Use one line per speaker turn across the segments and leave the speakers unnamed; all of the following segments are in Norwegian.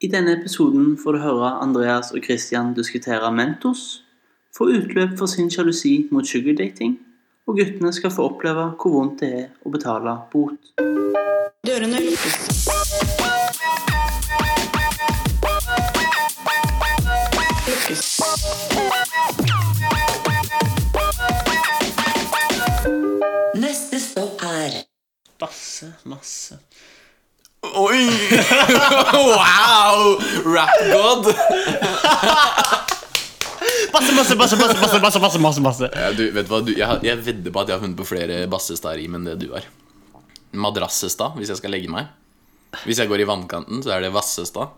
I denne episoden får du høre Andreas og Christian diskutere Mentos, få utløp for sin sjalusi mot sugardating, og guttene skal få oppleve hvor vondt det er å betale bot.
Dørene lukkes. Lukkes. Neste stopp er
Masse, masse.
Oi! Wow! Rap-god.
Masse, masse, masse, masse, masse, masse, masse, masse, masse.
Ja, du, vet du hva? Du, jeg, har- jeg vedder på at jeg har funnet på flere bassestad-rim enn det du har. Madrassestad, hvis jeg skal legge meg. Hvis jeg går i vannkanten, så er det Vassestad.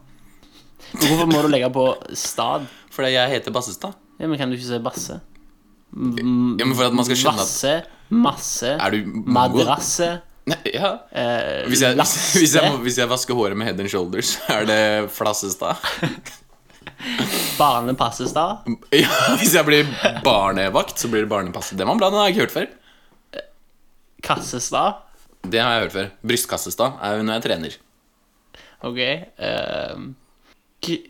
Hvorfor må du legge på stad?
Fordi jeg heter Bassestad.
Ja, men kan du ikke si basse?
Ja, men for at man skal skjønne at
Vasse, masse,
Er du mongo?
madrasse,
Nei, ja.
eh,
hvis, jeg, hvis,
lasse.
hvis, jeg, må- hvis jeg vasker håret med head and shoulders, så er det Flassestad.
barnepassestad.
Ja, hvis jeg blir barnevakt, så blir det barnepasset. Det var bra, den har jeg ikke hørt før.
Kassestad.
Det har jeg hørt før. Brystkassestad er jo når jeg trener.
Ok. ehm, k-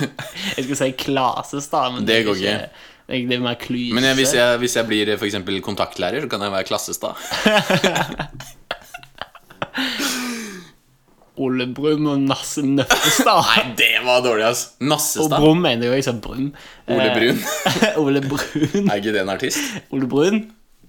jeg skulle si klasestad, men
Det
er
går ikke.
Det er- det er mer klyse.
Men jeg, hvis, jeg, hvis jeg blir eh, for eksempel kontaktlærer, så kan jeg være klassestad.
Ole Brumm og Nasse Nøffestad.
Nei, det var dårlig, ass.
og
Nassestad.
Brum mener jo jeg sa Brum.
Ole
Eh,
Brun.
Ole Brun.
Er ikke det en artist?
Ole Brun.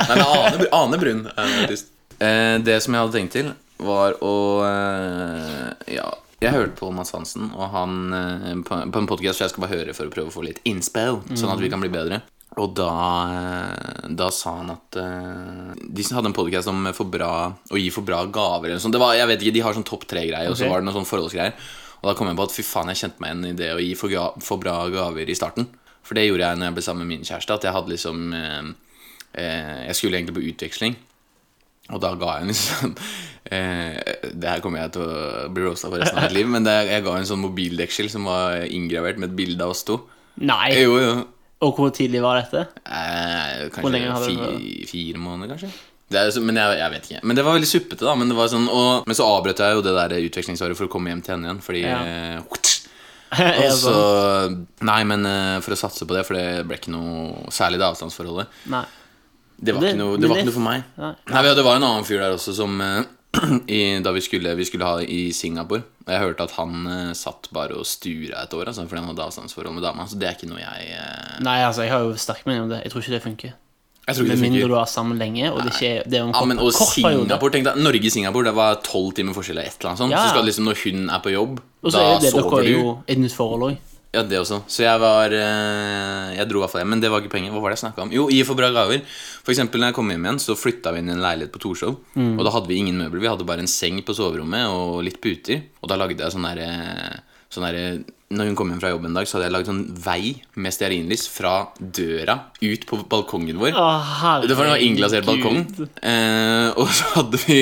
Nei, det er Ane, Ane Brun er en artist. Eh, det som jeg hadde tenkt til, var å eh, Ja. Jeg hørte på Mads Hansen og han, eh, på, på en podkast, så jeg skal bare høre for å prøve å få litt innspill, sånn at vi kan bli bedre. Og da, eh, da sa han at eh, De som hadde en podkast om for bra, å gi for bra gaver eller noe sånt. Det var, jeg vet ikke, De har sånn topp tre-greie, og så
Ok.
var det noen sånn forholdsgreier. Og da kom jeg på at fy faen, jeg kjente meg igjen i det å gi for, ga, for bra gaver i starten. For det gjorde jeg når jeg ble sammen med min kjæreste. At jeg hadde liksom eh, eh, Jeg skulle egentlig på utveksling, og da ga jeg en liksom eh, Det her kommer jeg til å bli roasta for resten av mitt liv, men det, jeg ga en sånn mobildeksel som var inngravert med et bilde av oss to.
Nei.
Jo, jo.
Og hvor tidlig var dette?
Eh, kanskje
lenge har det
fi,
vært?
fire måneder, kanskje. Det er, jo så- men jeg, jeg vet ikke. Men det var veldig suppete, da. Men, det var sånn, og, men så avbrøt jeg jo det der utvekslingsåret for å komme hjem til henne igjen, fordi
Ja.
eh,
Er
Og
det
så
sånn?
Nei, men eh, for å satse på det, for det ble ikke noe særlig det avstandsforholdet.
Nei.
Det var,
Det-
ikke, noe, det
men
var
det-
ikke noe for meg.
Nei.
Nei, vi- Det var en annen fyr der også som eh, i, Da vi skulle, vi skulle ha det i Singapore. Og jeg hørte at han eh, satt bare og stura et år altså, fordi han hadde avstandsforhold med dama. Så det er ikke noe jeg eh,
Nei, altså, jeg har jo sterke meninger om det. Jeg tror ikke det funker.
Jeg tror ikke
Med
det
mindre
funker.
du er sammen lenge, og det ikke er, det er jo en
Ja,
kort,
men og
kort periode.
Singapore, tenk deg Norge-Singapore, det var tolv timer forskjell eller et eller annet sånt.
Ja, ja.
Så skal det liksom, når hun er på jobb,
Og så
da
er det dere
sover
er
du.
jo i et nytt forhold òg.
Ja, det også. Så jeg var eh, Jeg dro i hvert fall hjem, men det var ikke penger. Hva var det jeg snakka om? Jo, gi for bra gaver. For eksempel, når jeg kom hjem igjen, så flytta vi inn i en leilighet på Torshov. Og da hadde vi ingen møbler. Vi hadde bare en seng på soverommet og litt puter. Og da lagde jeg sånn derre Sånn derre- når hun kom hjem fra jobb en dag, så hadde jeg lagd sånn vei med stearinlys fra døra ut på balkongen vår.
Å,
Det var en innglasert
herregud.
balkong. Eh, og så hadde vi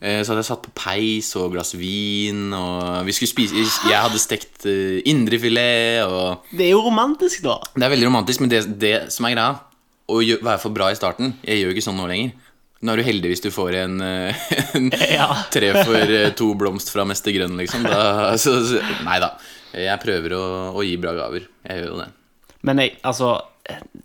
eh, Så hadde jeg satt på peis og glass vin, og vi skulle spise Jeg hadde stekt eh, indrefilet, og
Det er jo romantisk, da.
Det er veldig romantisk, men det, det som er greia, å gjø- være for bra i starten Jeg gjør jo ikke sånn nå lenger. Nå er du heldig hvis du får en, eh, en
Ja.
tre for eh, to blomst fra Mester Grønn, liksom. Da, så, så, nei da. Jeg prøver å, å gi bra gaver. Jeg gjør jo det.
Men jeg, altså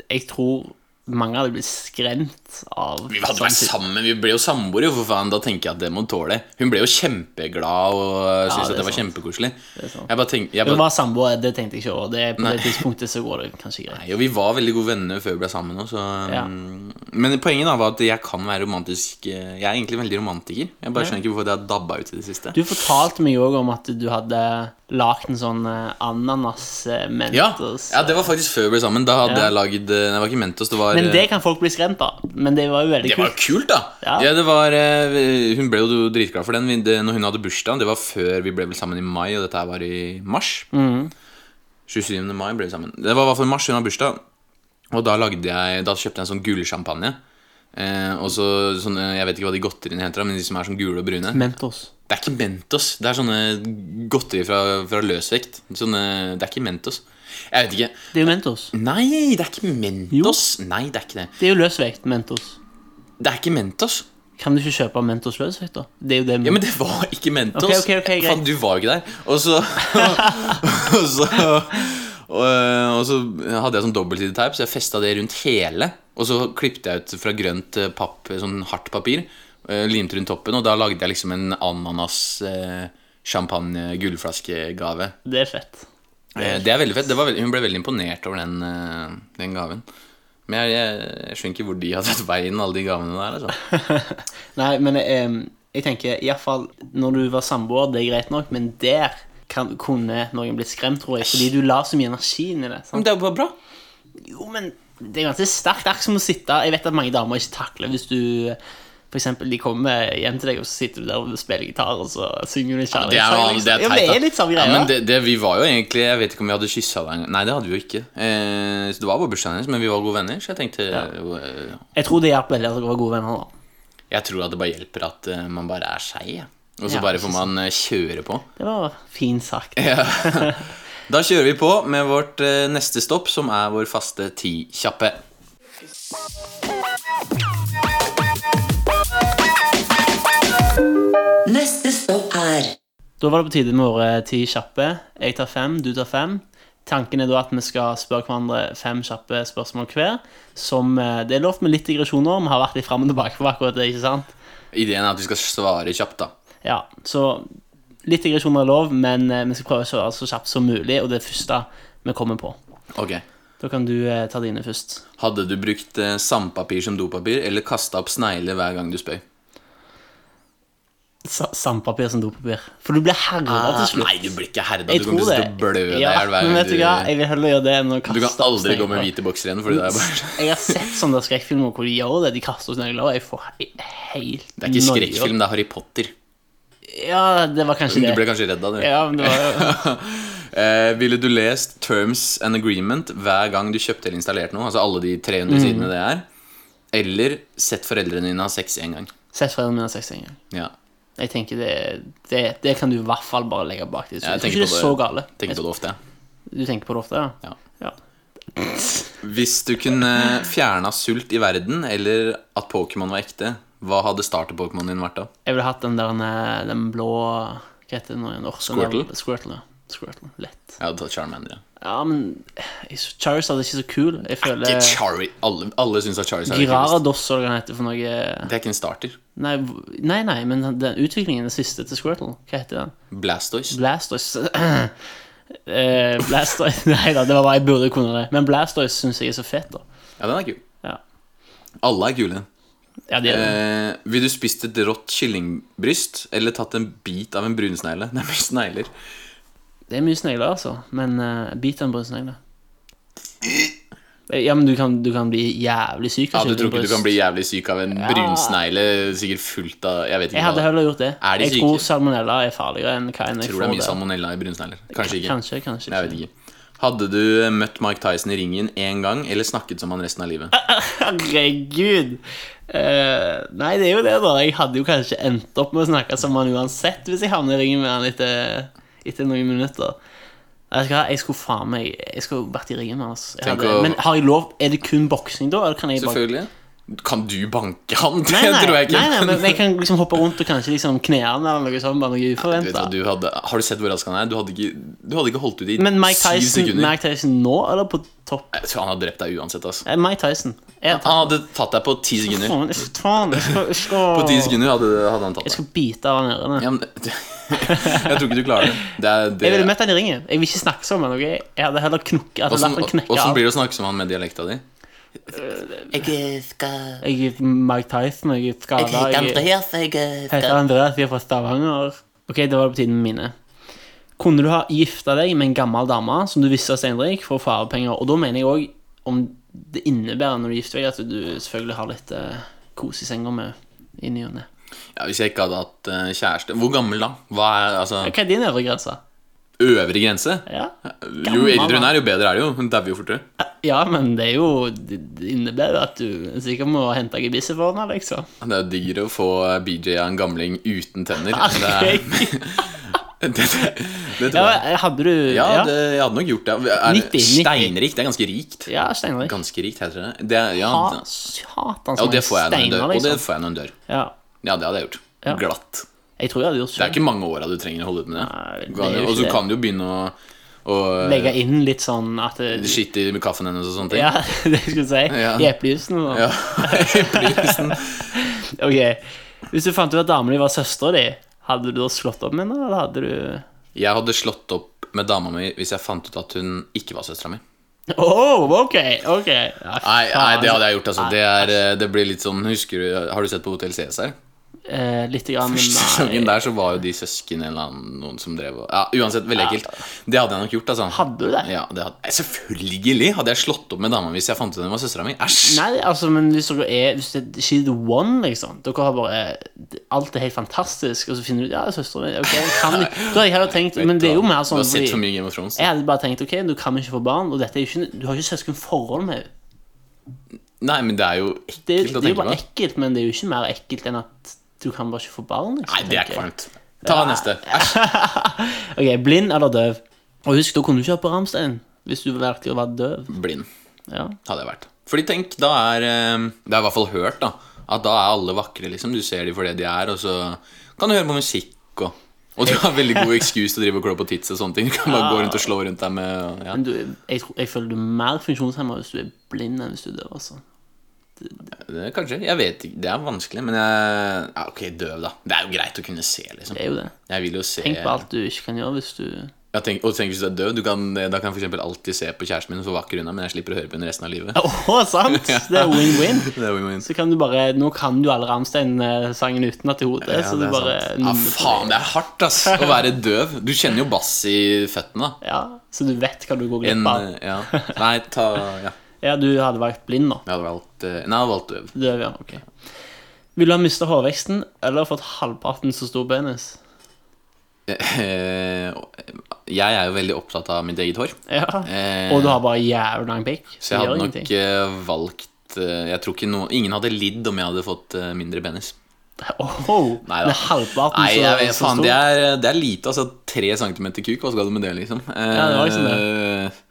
Jeg tror mange hadde blitt skremt av sånn
Vi hadde vært sammen, vi ble jo samboere, jo, for faen. Da tenker jeg at det må hun tåle. Hun ble jo kjempeglad og syntes at
det er
det var
sant.
kjempekoselig.
er sant.
Jeg bare tenk, jeg
Hun
bare,
var samboer, det tenkte jeg ikke over. Det, på det tidspunktet så går det kanskje greit.
nei, og vi var veldig gode venner før vi ble sammen òg, så um,
Ja.
Men poenget da var at jeg kan være romantisk eh, Jeg er egentlig veldig romantiker. Jeg bare skjønner ikke hvorfor det har dabba ut i det siste.
Du fortalte meg òg om at du hadde lagd en sånn eh, ananas eh,
Ja,
mentos.
ja, det var faktisk før vi ble sammen. Da hadde
Ja.
jeg lagd eh, Det var ikke Mentos, det var
Men
eh,
det kan folk bli skremt av. Men det var jo veldig
Det var jo
kult.
kult, da!
Ja.
Ja. det var, eh, hun ble jo dritglad for den Vi- det, når hun hadde bursdag. Det var før vi ble vel sammen i mai, og dette her var i mars. 27. mai ble vi sammen. Det var i hvert fall i mars hun hadde bursdag. Og da, lagde jeg, da kjøpte jeg en sånn gullsjampanje. Eh, og så sånne, Jeg vet ikke hva de godteriene heter, da, men de som er sånn gule og brune.
Mentos.
Det er ikke Mentos. Det er sånne godteri fra, fra løsvekt. Sånne, det er ikke Mentos. Jeg vet ikke.
Det er jo Mentos.
Nei, det er ikke Mentos! Nei, det er ikke det.
Det er jo løsvekt Mentos.
Det er ikke Mentos.
Kan du ikke kjøpe Mentos løsvekt, da? Det er jo det
Ja, men det var ikke Mentos.
Ok, ok, ok, greit.
Faen, du var jo ikke der. Og så Og så, og, eh, og så hadde jeg sånn dobbeltsidig teip, så jeg festa det rundt hele. Og så klippte jeg ut fra grønt eh, papp, sånn hardt papir, eh, limt rundt toppen, og da lagde jeg liksom en eh, ananas-champagne-gullflaskegave.
Det er fett.
Eh, Det er veldig fett. Det var veld- hun ble veldig imponert over den, eh, den gaven. Men jeg, jeg, jeg skjønner ikke hvor de har tatt veien, alle de gavene der. altså
Nei, men eh, jeg tenker iallfall når du var samboer, det er greit nok, men der kan, kunne noen blitt skremt, tror jeg, fordi du la så mye energi inn i
Men
det. Sant?
det var bra.
Jo, men det er ganske sterkt. Det er ikke som å sitte Jeg vet at mange damer ikke takler hvis du for eksempel, de kommer hjem til deg, og så sitter du der og spiller gitar, og så synger du en
Det er,
kjærlighetssang.
det er
liksom. Ja,
teit,
men det
da.
er litt samme
Ja,
greia.
men det, det, vi var jo egentlig Jeg vet ikke om vi hadde kyssa hver gang. Nei, det hadde vi jo ikke. Eh, så det var bare bursdagen hennes, men vi var gode venner, så jeg tenkte eh,
Jeg tror det hjalp veldig at dere var gode venner. da.
Jeg tror at det bare hjelper at eh, man bare er seg, jeg. og så
Ja,
bare får man eh, kjøre på.
Det var fint sagt.
Da kjører vi på med vårt eh, neste stopp, som er vår faste ti kjappe.
Neste stopp er
Da var det på tide med våre ti kjappe. Jeg tar fem, du tar fem. Tanken er da at vi skal spørre hverandre fem kjappe spørsmål hver. Som eh, Det er lov med litt digresjoner. Vi har vært litt fram og tilbake på akkurat det, ikke sant?
Ideen er at vi skal svare kjapt, da.
Ja, så litt digresjoner er lov, men eh, vi skal prøve å kjøre så kjapt som mulig, og det er første vi kommer på.
Ok.
Da kan du eh, ta dine først.
Hadde du brukt eh, sandpapir som dopapir, eller kasta opp snegler hver gang du spøy?
Sa- Sandpapir som dopapir. For du blir herda til slutt.
Ah, Nei, du blir ikke herda.
Ah,
Du
Jeg
kommer til å
tror det.
stå og blø deg i
ja,
hjel hver
men
gang
vet du hva? Jeg vil heller gjøre det enn å kaste
Du kan
opp
aldri gå med
snegler.
hvite boksere igjen, fordi det er bare
Jeg har sett sånne skrekkfilmer hvor de gjør det. De kaster snegler, og jeg får he- helt
Det er ikke
noia.
skrekkfilm, det er Harry Potter.
Ja, det var kanskje
Du
det.
ble kanskje redd av det.
Ja, men det var,
Eh, ville du lest Terms and Agreement hver gang du kjøpte eller installerte noe? Altså alle de 300
Mm.
sidene det er. Eller sett foreldrene dine ha sex én gang.
Sett foreldrene mine seks ganger.
Ja.
Jeg tenker det, det, det kan du i hvert fall bare legge bak deg.
Ja, jeg
Jeg tror
tenker
ikke det
på
er
det-
så gale.
Tenker på det ofte. jeg.
Du tenker på det ofte, ja?
Ja.
ja.
Hvis du kunne fjerna sult i verden, eller at Pokémon var ekte, hva hadde starter-Pokémonen din vært da?
Jeg ville hatt den der eh, den blå Hva heter den? nå igjen? Åh, sånn
Squirtle?
der- Squirtle, ja. Squirtle, lett.
Jeg hadde tatt Charmander. ja.
Ja, men eh, Charizard er ikke så kul. Jeg
Ikke
føler
Chari Alle, alle syns at Charizard er kulest.
Girarados eller hva den heter for noe
Det er ikke en starter.
Nei, v- nei, nei men den utviklingen, den siste til Squirtle, hva heter den?
Blastoise.
Blastoise Eh, Blastoise Nei da, det var bare jeg burde kunne det. Men Blastoise syns jeg er så fet, da.
Ja, den er kul.
Ja,
Alle er kule.
ja de er det.
Eh, vil du spist et rått kyllingbryst eller tatt en bit av en brunsnegle? Nei, men snegler.
Det er mye snegler, altså. Men eh, bit av en brunsnegle. Eh, Ja, men du kan, du kan bli jævlig syk
Ja,
av
du tror ikke du
kyllingbryst.
kan bli jævlig syk av en brunsnegle sikkert fullt av Jeg vet
Jeg
ikke
hadde heller gjort det.
Er de
jeg
syke?
tror salmonella er farligere enn hva enn jeg
Jeg tror det er mye
får der.
salmonella i brunsnegler. Kanskje ikke.
Kanskje, kanskje
Jeg vet ikke. Hadde du eh, møtt Mike Tyson i ringen én gang eller snakket som han resten av livet?
Eh, Herregud! Eh, nei, det er jo det, da. Jeg hadde jo kanskje endt opp med å snakke som han uansett hvis jeg havner i ringen med han etter, etter noen minutter. Jeg, skal, jeg skulle faen meg Jeg skulle vært i ringen med han. ass. Jeg
Tenk
hadde,
å-
Men har jeg lov? Er det kun boksing, da? Eller kan jeg bare
Selvfølgelig. Kan du banke han? Det
Nei, nei,
tror jeg ikke.
nei, nei, men jeg kan liksom hoppe rundt og kanskje liksom kne han eller noe sånt. Bare noe
Du vet hva
uforventet
du hadde, har du sett hvor rask han er? Du hadde ikke, du hadde ikke holdt ut i
Men Mike
syv
Tyson,
sekunder.
Mike Tyson nå, eller på topp?
Jeg tror han hadde drept deg uansett. Altså.
Eh, Mike Tyson. Jeg,
Han hadde tatt deg på ti sekunder.
faen, jeg, faen, jeg skal, jeg skal,
På ti sekunder hadde, hadde han tatt
Jeg
deg.
skal bite av han ørene.
Ja, men, jeg tror ikke du klarer det. det, er, det
Jeg ville møtt han i ringen. Jeg vil ikke snakke sammen. ok? Jeg hadde heller knukket at jeg
Åssen
latt han knekke
åssen
av.
blir det å snakke som han med dialekta di?
Jeg skal
Jeg er Mike Tyson, jeg er skada.
Jeg heter
Jeg
Andreas, jeg
heter
skal
Andreas, jeg er fra Stavanger. Ok, det var det på tiden med mine. Kunne du ha gifta deg med en gammel dame som du visste var steinrik, for farepenger? Og da mener jeg òg om det innebærer når du gifter deg, at du selvfølgelig har litt eh, kos i senga med i ny og ne.
Ja, hvis jeg ikke hadde hatt eh, kjæreste Hvor gammel da? Hva er altså,
Hva er din øvre grense?
øvre grense?
Ja.
Jo eldre hun er, jo bedre er det jo. Hun dauer jo fortere.
ja, men det er jo Det det innebærer jo at du sikkert må hente gebisset for henne, liksom.
Det er jo diggere å få BJ av en gamling uten tenner. Det, er, det, det, det
Ah, Ja,
tror jeg.
hadde du
Ja, det, jeg hadde nok gjort det. Er,
90, 90.
Steinrikt, det er ganske rikt.
Ja, Steinrik.
Ganske rikt, heter det. det er, ja,
Ha-
det-
Satan, så
og
mange
det får jeg når hun
steiner,
dør. Og det
liksom.
får jeg når hun dør.
Ja.
Ja, det hadde jeg gjort.
Ja.
Glatt.
Jeg tror jeg hadde gjort sånn-
Det er
selv.
ikke mange åra du trenger å holde ut med det.
Nei, det
Du kan
er
jo-
jo
og så
ikke
kan du jo begynne å, å eh,
Legge inn litt sånn at det,
skitte i kaffen hennes og sånne ting.
Ja, det skulle jeg si.
Ja.
I eplejusen og
Ja. Eplejusen.
Ok. Hvis du fant ut at damen din var søstera di, hadde du da slått opp med henne, eller hadde du
Jeg hadde slått opp med dama mi hvis jeg fant ut at hun ikke var søstera mi.
Oh, ok, ok. Ja,
Nei, nei,
faen.
det hadde jeg gjort, altså. Det, er, eh, det blir litt sånn Husker du Har du sett på Hotell Cæsar?
Eh, litt grann,
Første sesongen
nei.
der så var jo de søsken eller annen, noen som drev og Ja, uansett, veldig ekkelt. Det hadde jeg nok gjort, altså.
Hadde du det?
Ja, det hadde, Nei, selvfølgelig hadde jeg slått opp med dama hvis jeg fant ut at hun var søstera mi. Æsj!
Nei, altså, men hvis dere er Hvis det er she's the one, liksom Dere har bare Alt er helt fantastisk, og så finner du ut Ja, søstera mi Ok, kan du Da har jeg heller tenkt Men det er jo mer
Du
sånn
har sett for
fordi
mye Game of Thrones.
Jeg hadde bare tenkt Ok, du kan ikke få barn, og dette er jo ikke Du har ikke søskenforhold med henne.
Nei, men det er jo
Det, er-
ekkelt å
det er jo
tenke
bare
på.
ekkelt, men det er jo ikke mer ekkelt enn at du kan bare ikke få barn. Liksom,
Nei, det er
tenker jeg.
kvalmt. Ta neste. Æsj.
Ok, blind eller døv. Og husk, da kunne du ikke hatt på Ramstein hvis du valgte å være døv.
Blind
Ja.
hadde jeg vært. Fordi tenk, da er eh, Det er i hvert fall hørt, da. At da er alle vakre, liksom. Du ser de for det de er, og så kan du høre på musikk og og du har veldig god excuse til å drive og klå på tits og sånne ting. Du kan bare gå rundt og slå rundt deg med og- ja.
Men du, jeg, tror- jeg føler du er mer funksjonshemma hvis du er blind enn hvis du er døv. Altså.
Det, Eh, kanskje. Jeg vet ikke. Det er vanskelig, men jeg ja, Ok, døv, da. Det er jo greit å kunne se, liksom.
Det er jo det.
Jeg vil jo se
Tenk på alt du ikke kan gjøre hvis du
Ja, tenk, Og tenk hvis du er døv. Du kan, da kan jeg for eksempel alltid se på kjæresten min og få vakker unna, men jeg slipper å høre på henne resten av livet.
Å, sant! Det er win-win.
Det er win-win.
Så kan du bare Nå kan du eh, alle Ramstein-sangen utenat i hodet,
Ja,
så du
det er
bare
sant. Ja,
nynner på
faen,
det.
det er hardt, ass. Å være døv. Du kjenner jo bass i føttene, da.
Ja, så du vet hva du går
Ah, En,
glipp av.
eh, ja. Nei, ta Ja.
Ja, du hadde valgt blind, da.
Jeg hadde valgt eh, Nei, jeg hadde valgt døv.
Døv, ja. Ok. Vil du ha mista hårveksten eller fått halvparten så stor penis?
Eh, Jeg er jo veldig opptatt av mitt eget hår.
Ja.
Eh,
Og du har bare jævlig lang pikk.
Så jeg
Det gjør
hadde nok
ingenting.
eh, valgt eh, Jeg tror ikke noen Ingen hadde lidd om jeg hadde fått eh, mindre penis.
Oho,
Neida.
Med halvparten
Nei,
så,
jeg vet,
så
faen,
stor.
det er, det er lite, altså. Tre centimeter kuk, hva skal du med det, liksom?
Ja, det var liksom
Eh,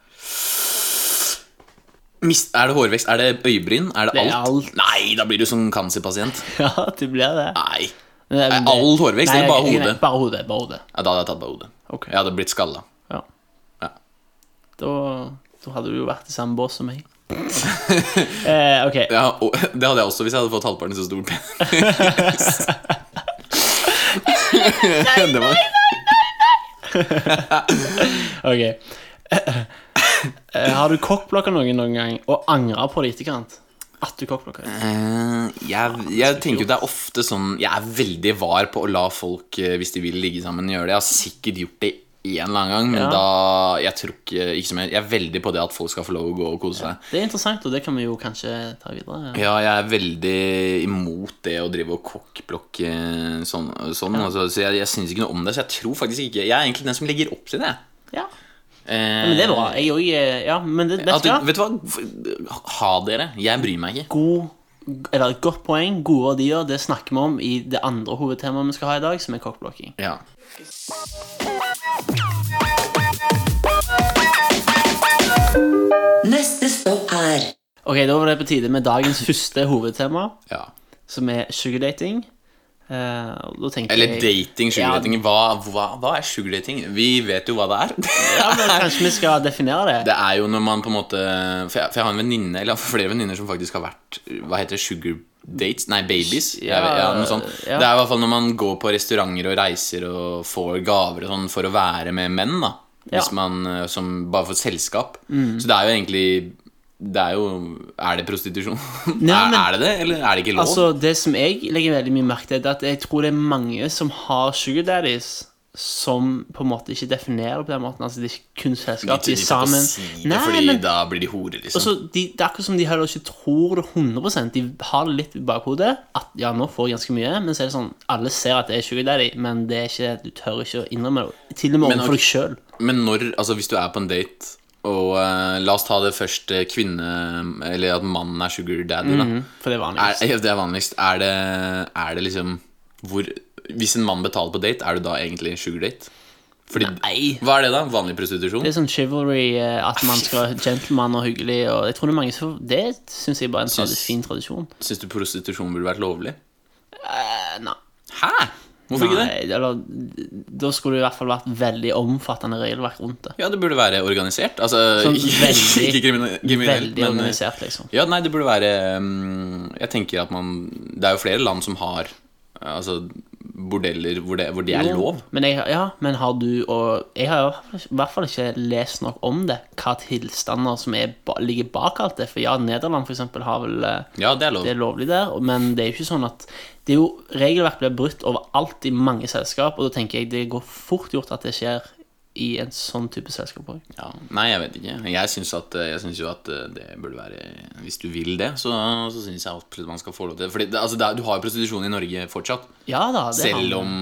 Mist, er det hårvekst? Er det øyebryn? Er det,
Det er
alt?
alt.
Nei, da blir du sånn cancerpasient.
Ja, det blir det.
Nei.
Men det-
Er Eh, all hårvekst,
Nei,
eller bare
nei,
hodet?
Bare hodet. bare hodet
Ja, da hadde jeg tatt bare hodet.
Ok.
Jeg hadde blitt skalla.
Ja.
Ja.
Da, da hadde du jo vært i samme bås som meg. eh, ok,
Ja, og, det hadde jeg også hvis jeg hadde fått halvparten så stor penis. Det var-
ok eh, Har du kokkblokka noen noen gang og angra på det i etterkant? At du kokkblokka?
Eh, jeg, jeg tenker jo det er ofte sånn Jeg er veldig var på å la folk, eh, hvis de vil ligge sammen, gjøre det. Jeg har sikkert gjort det en eller annen gang, men
Ja.
da Jeg tror ikke, ikke som jeg, jeg er veldig på det at folk skal få lov å gå og kose seg.
Det er interessant, og det kan vi jo kanskje ta videre.
Ja, jeg er veldig imot det å drive og kokkblokke sånn. sånn altså, så jeg, jeg syns ikke noe om det, så jeg tror faktisk ikke Jeg er egentlig den som legger opp til det.
Ja,
Eh,
Men det er bra. Jeg òg Ja, men det, vet
at,
du hva?
vet du hva? Ha dere. Jeg bryr meg ikke.
god Eller et godt poeng, gode verdier, det snakker vi om i det andre hovedtemaet vi skal ha i dag, som er cockblocking.
Ja.
Neste stopp er
Ok, Da var det på tide med dagens første hovedtema,
ja.
som er sugardating. Eh, og da tenker
Eller
jeg-
dating, sugardating. Hva, hva, hva er sugardating? Vi vet jo hva det er.
Ja, men Kanskje vi skal definere det?
Det er jo når man på en måte For jeg, for jeg har en venninne, eller jeg har flere venninner som faktisk har vært Hva heter det? Sugar dates? Nei, babies?
Ja,
jeg, vet- ja, noe sånt.
ja.
Det er i hvert fall når man går på restauranter og reiser og får gaver og sånn for å være med menn, da. Hvis
Ja. Mm.
man eh, som bare for selskap. Så det er jo egentlig det er jo Er det prostitusjon?
Nei, men-
er, er det det, eller er det ikke lov?
Altså, Det som jeg legger veldig mye merke til, det er at jeg tror det er mange som har sugar daddies, som på en måte ikke definerer på den måten. Altså, Det er ikke kun selskap, de
de
er
tar på
sammen.
side, fordi da blir de horer, liksom.
Altså, de, det er akkurat som de heller ikke tror det 100 De har det litt i bakhodet. At ja, nå får jeg ganske mye, men så er det sånn alle ser at det er sugar daddy, men det er ikke, du tør ikke å innrømme det. Til og med
Men
overfor
ok.
deg sjøl.
Men når, altså hvis du er på en date Og eh, la oss ta det først eh, Kvinne, eller at mannen er sugar daddy da.
Mm, For det er
er,
vanligvis.
ja, Det er vanligst er det, er det liksom hvor, Hvis en mann betaler på date Er du da egentlig sugar date? Fordi,
Nei.
Hva er det da? Vanlig prostitusjon?
Det er sånn chivalry, eh, at man skal være gentleman og hyggelig. Og jeg tror Det er mange som Det syns jeg bare er en
Syns-
tradi- fin tradisjon.
Synes du prostitusjon burde vært lovlig?
Eh, Eh, nei.
Hæ? Hvorfor ikke det?
Nei, Eller, da skulle det i hvert fall vært veldig omfattende regelverk rundt det.
Ja, det burde være organisert. Altså,
Sånn
ikke-
veldig-
ikke krimine- kriminelt,
Veldig
men eh,
organisert, liksom.
Ja, nei, det burde være mm, Jeg tenker at man Det er jo flere land som har eh, Altså, bordeller hvor det, hvor det er lov.
Men, jeg, ja, men har du og Jeg har jo i hvert fall ikke lest nok om det, hva tilstander som er, ba- ligger bak alt det. For ja, Nederland for eksempel har vel eh,
Ja, det er lov.
Det er lovlig der, men det er jo ikke sånn at det er jo, Regelverk blir brutt overalt i mange selskap, og da tenker jeg det går fort gjort at det skjer i en sånn type selskap òg.
Ja. Nei, jeg vet ikke. Jeg syns, at, jeg syns jo at eh, det burde være Hvis du vil det, så, så syns jeg absolutt man skal få lov til det. Fordi det. Altså, det er, du har jo prostitusjon i Norge fortsatt.
Ja da, det har vi.
Selv om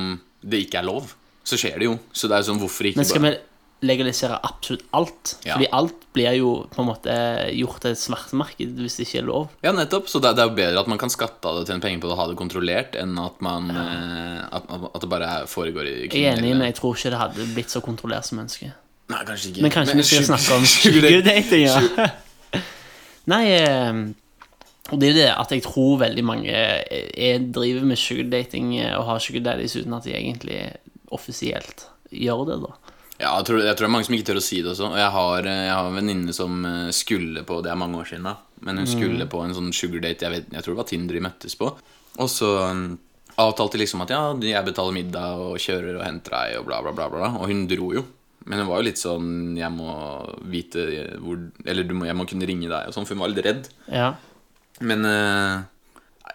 det ikke er lov, så skjer det jo. Så det er jo sånn, hvorfor ikke
Men skal vi legalisere absolutt alt?
Ja.
Fordi alt blir jo på en måte gjort til et svartemarked hvis det ikke er lov.
Ja, nettopp. Så det, det er jo bedre at man kan skatte av det og tjene penger på det og ha det kontrollert, enn at, man, eh, at, at- at det bare er- foregår i
Jeg er enig, men jeg tror ikke det hadde blitt så kontrollert som ønske.
Nei, kanskje ikke.
Men kanskje vi skal
sugar-
snakke om
sugar
sugar
daddy.
dating, ja. Nei, eh, og det er jo det at jeg tror veldig mange eh, er, driver med sugar dating eh, og har sugar daddies uten at de egentlig offisielt gjør det, da.
Ja, jeg tror, jeg tror det er mange som ikke tør å si det også. Og jeg har, eh, jeg har en venninne som eh, skulle på Det er mange år siden, da. Men
Mm.
hun skulle på en sånn sugardate. Jeg, vet- jeg tror det var Tinder de møttes på. Og så mm, avtalte de liksom at ja, jeg betaler middag og kjører og henter deg og bla, bla, bla. bla. Og hun dro jo. Men hun var jo litt sånn Jeg må vite hvor Eller du må, jeg må kunne ringe deg og sånn, for hun var litt redd.
Ja.
Men eh,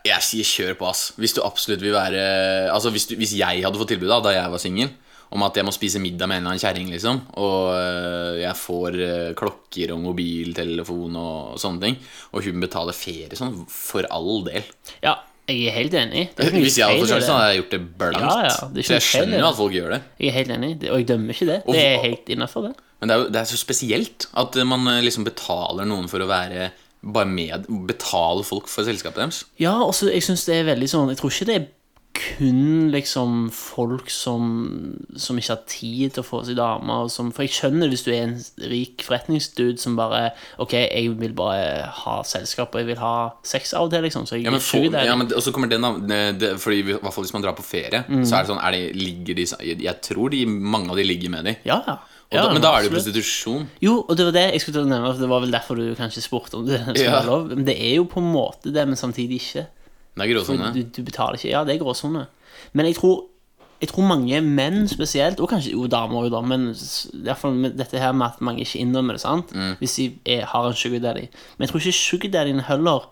jeg sier kjør på, ass. Hvis du absolutt vil være Altså, hvis, du, hvis jeg hadde fått tilbud da, da jeg var singel, om at jeg må spise middag med en eller annen kjerring, liksom, og eh, jeg får eh, klokker og mobiltelefon og, sånne ting, og hun betaler ferie sånn, for all del
ja, jeg er helt enig. Det er ikke noe
Hvis jeg hadde sånn, fått
feil i det.
sjansen, hadde jeg gjort det blankt.
Ja, ja, det er
Så jeg
ikke noe feil i
skjønner
det.
at folk gjør det.
Jeg er helt enig, det- og jeg dømmer ikke det. Det er helt innafor, det.
Men det er jo det er så spesielt at eh, man eh, liksom betaler noen for å være bare med Betale folk for selskapet deres.
Ja, og så jeg synes det er veldig sånn Jeg tror ikke det er kun liksom folk som, som ikke har tid til å få seg damer og som, For jeg skjønner hvis du er en rik forretningsdude som bare Ok, jeg vil bare ha selskap, og jeg vil ha sex av og til, liksom. Så jeg
Ja, men,
suger
for,
deg.
ja, men det- og så kommer det, nav- det, det Fordi i hvert fall hvis man drar på ferie,
Mm.
så er det sånn er det, ligger de, sa- Jeg tror de, mange av de ligger med de.
ja, ja.
Og da, men da er det jo
absolutt.
prostitusjon.
Jo, og det var det jeg skulle til å nevne, for det var vel derfor du kanskje spurte om det skal
Ja.
være lov. Men det er jo på en måte det, men samtidig ikke.
Det er gråsone.
Du, du betaler ikke. Ja, det er gråsone. Men jeg tror, jeg tror mange menn spesielt, og kanskje jo damer òg, da, men s- i hvert fall med dette her med at mange ikke innrømmer det, sant?
Mm.
hvis de er, har en sugar daddy. Men jeg tror ikke sugar daddyene heller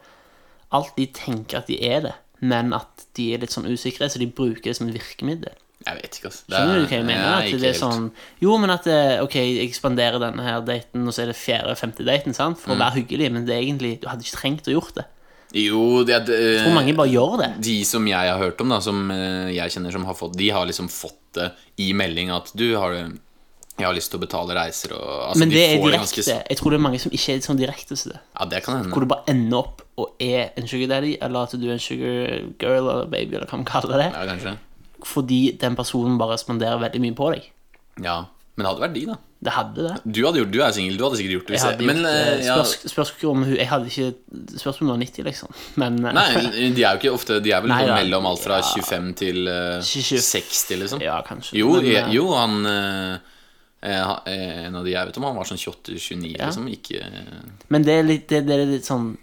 alltid tenker at de er det, men at de er litt sånn usikre, så de bruker det som et virkemiddel.
Jeg vet ikke, altså. Det
Skjønner
er-
du hva jeg mener?
Nei,
at
ikke
det er
helt.
sånn, jo, men at eh, ok, jeg ekspanderer denne her daten, og så er det fjerde og femte daten, sant? for å
Mm.
være hyggelig, men det er egentlig, du hadde ikke trengt å gjort det.
Jo, det er eh,
Jeg tror mange bare gjør det.
De som jeg har hørt om, da, som eh, jeg kjenner som har fått De har liksom fått det i melding at du har Jeg har lyst til å betale reiser og altså,
Men
de
det er
får ganske-
direkte. Jeg tror det er mange som ikke er sånn direkte til det.
Ja, det kan hende.
Hvor du bare ender opp og er en sugar daddy, eller at du er en sugar girl eller baby, eller hva man kaller det,
Ja, kanskje.
fordi den personen bare responderer veldig mye på deg.
Ja. Men det hadde vært digg, da.
Det hadde det.
Du, hadde gjort, du er singel, du hadde sikkert gjort det.
Jeg
hvis jeg-
hadde gjort,
men,
eh,
eh, ja.
spørs, spørs ikke om hun Jeg hadde ikke Spørs om hun var 90, liksom. Men eh,
Nei, de er jo ikke ofte De er vel
Nei,
sånn
da.
mellom alt fra 25 til eh,
27.
60, liksom.
Ja, kanskje.
Jo,
men,
eh,
eh,
jo han eh, eh, ha- eh, En av de jeg vet om, han var sånn 28-29, liksom. Ikke Jo,
eh, men det er litt, det, det er litt sånn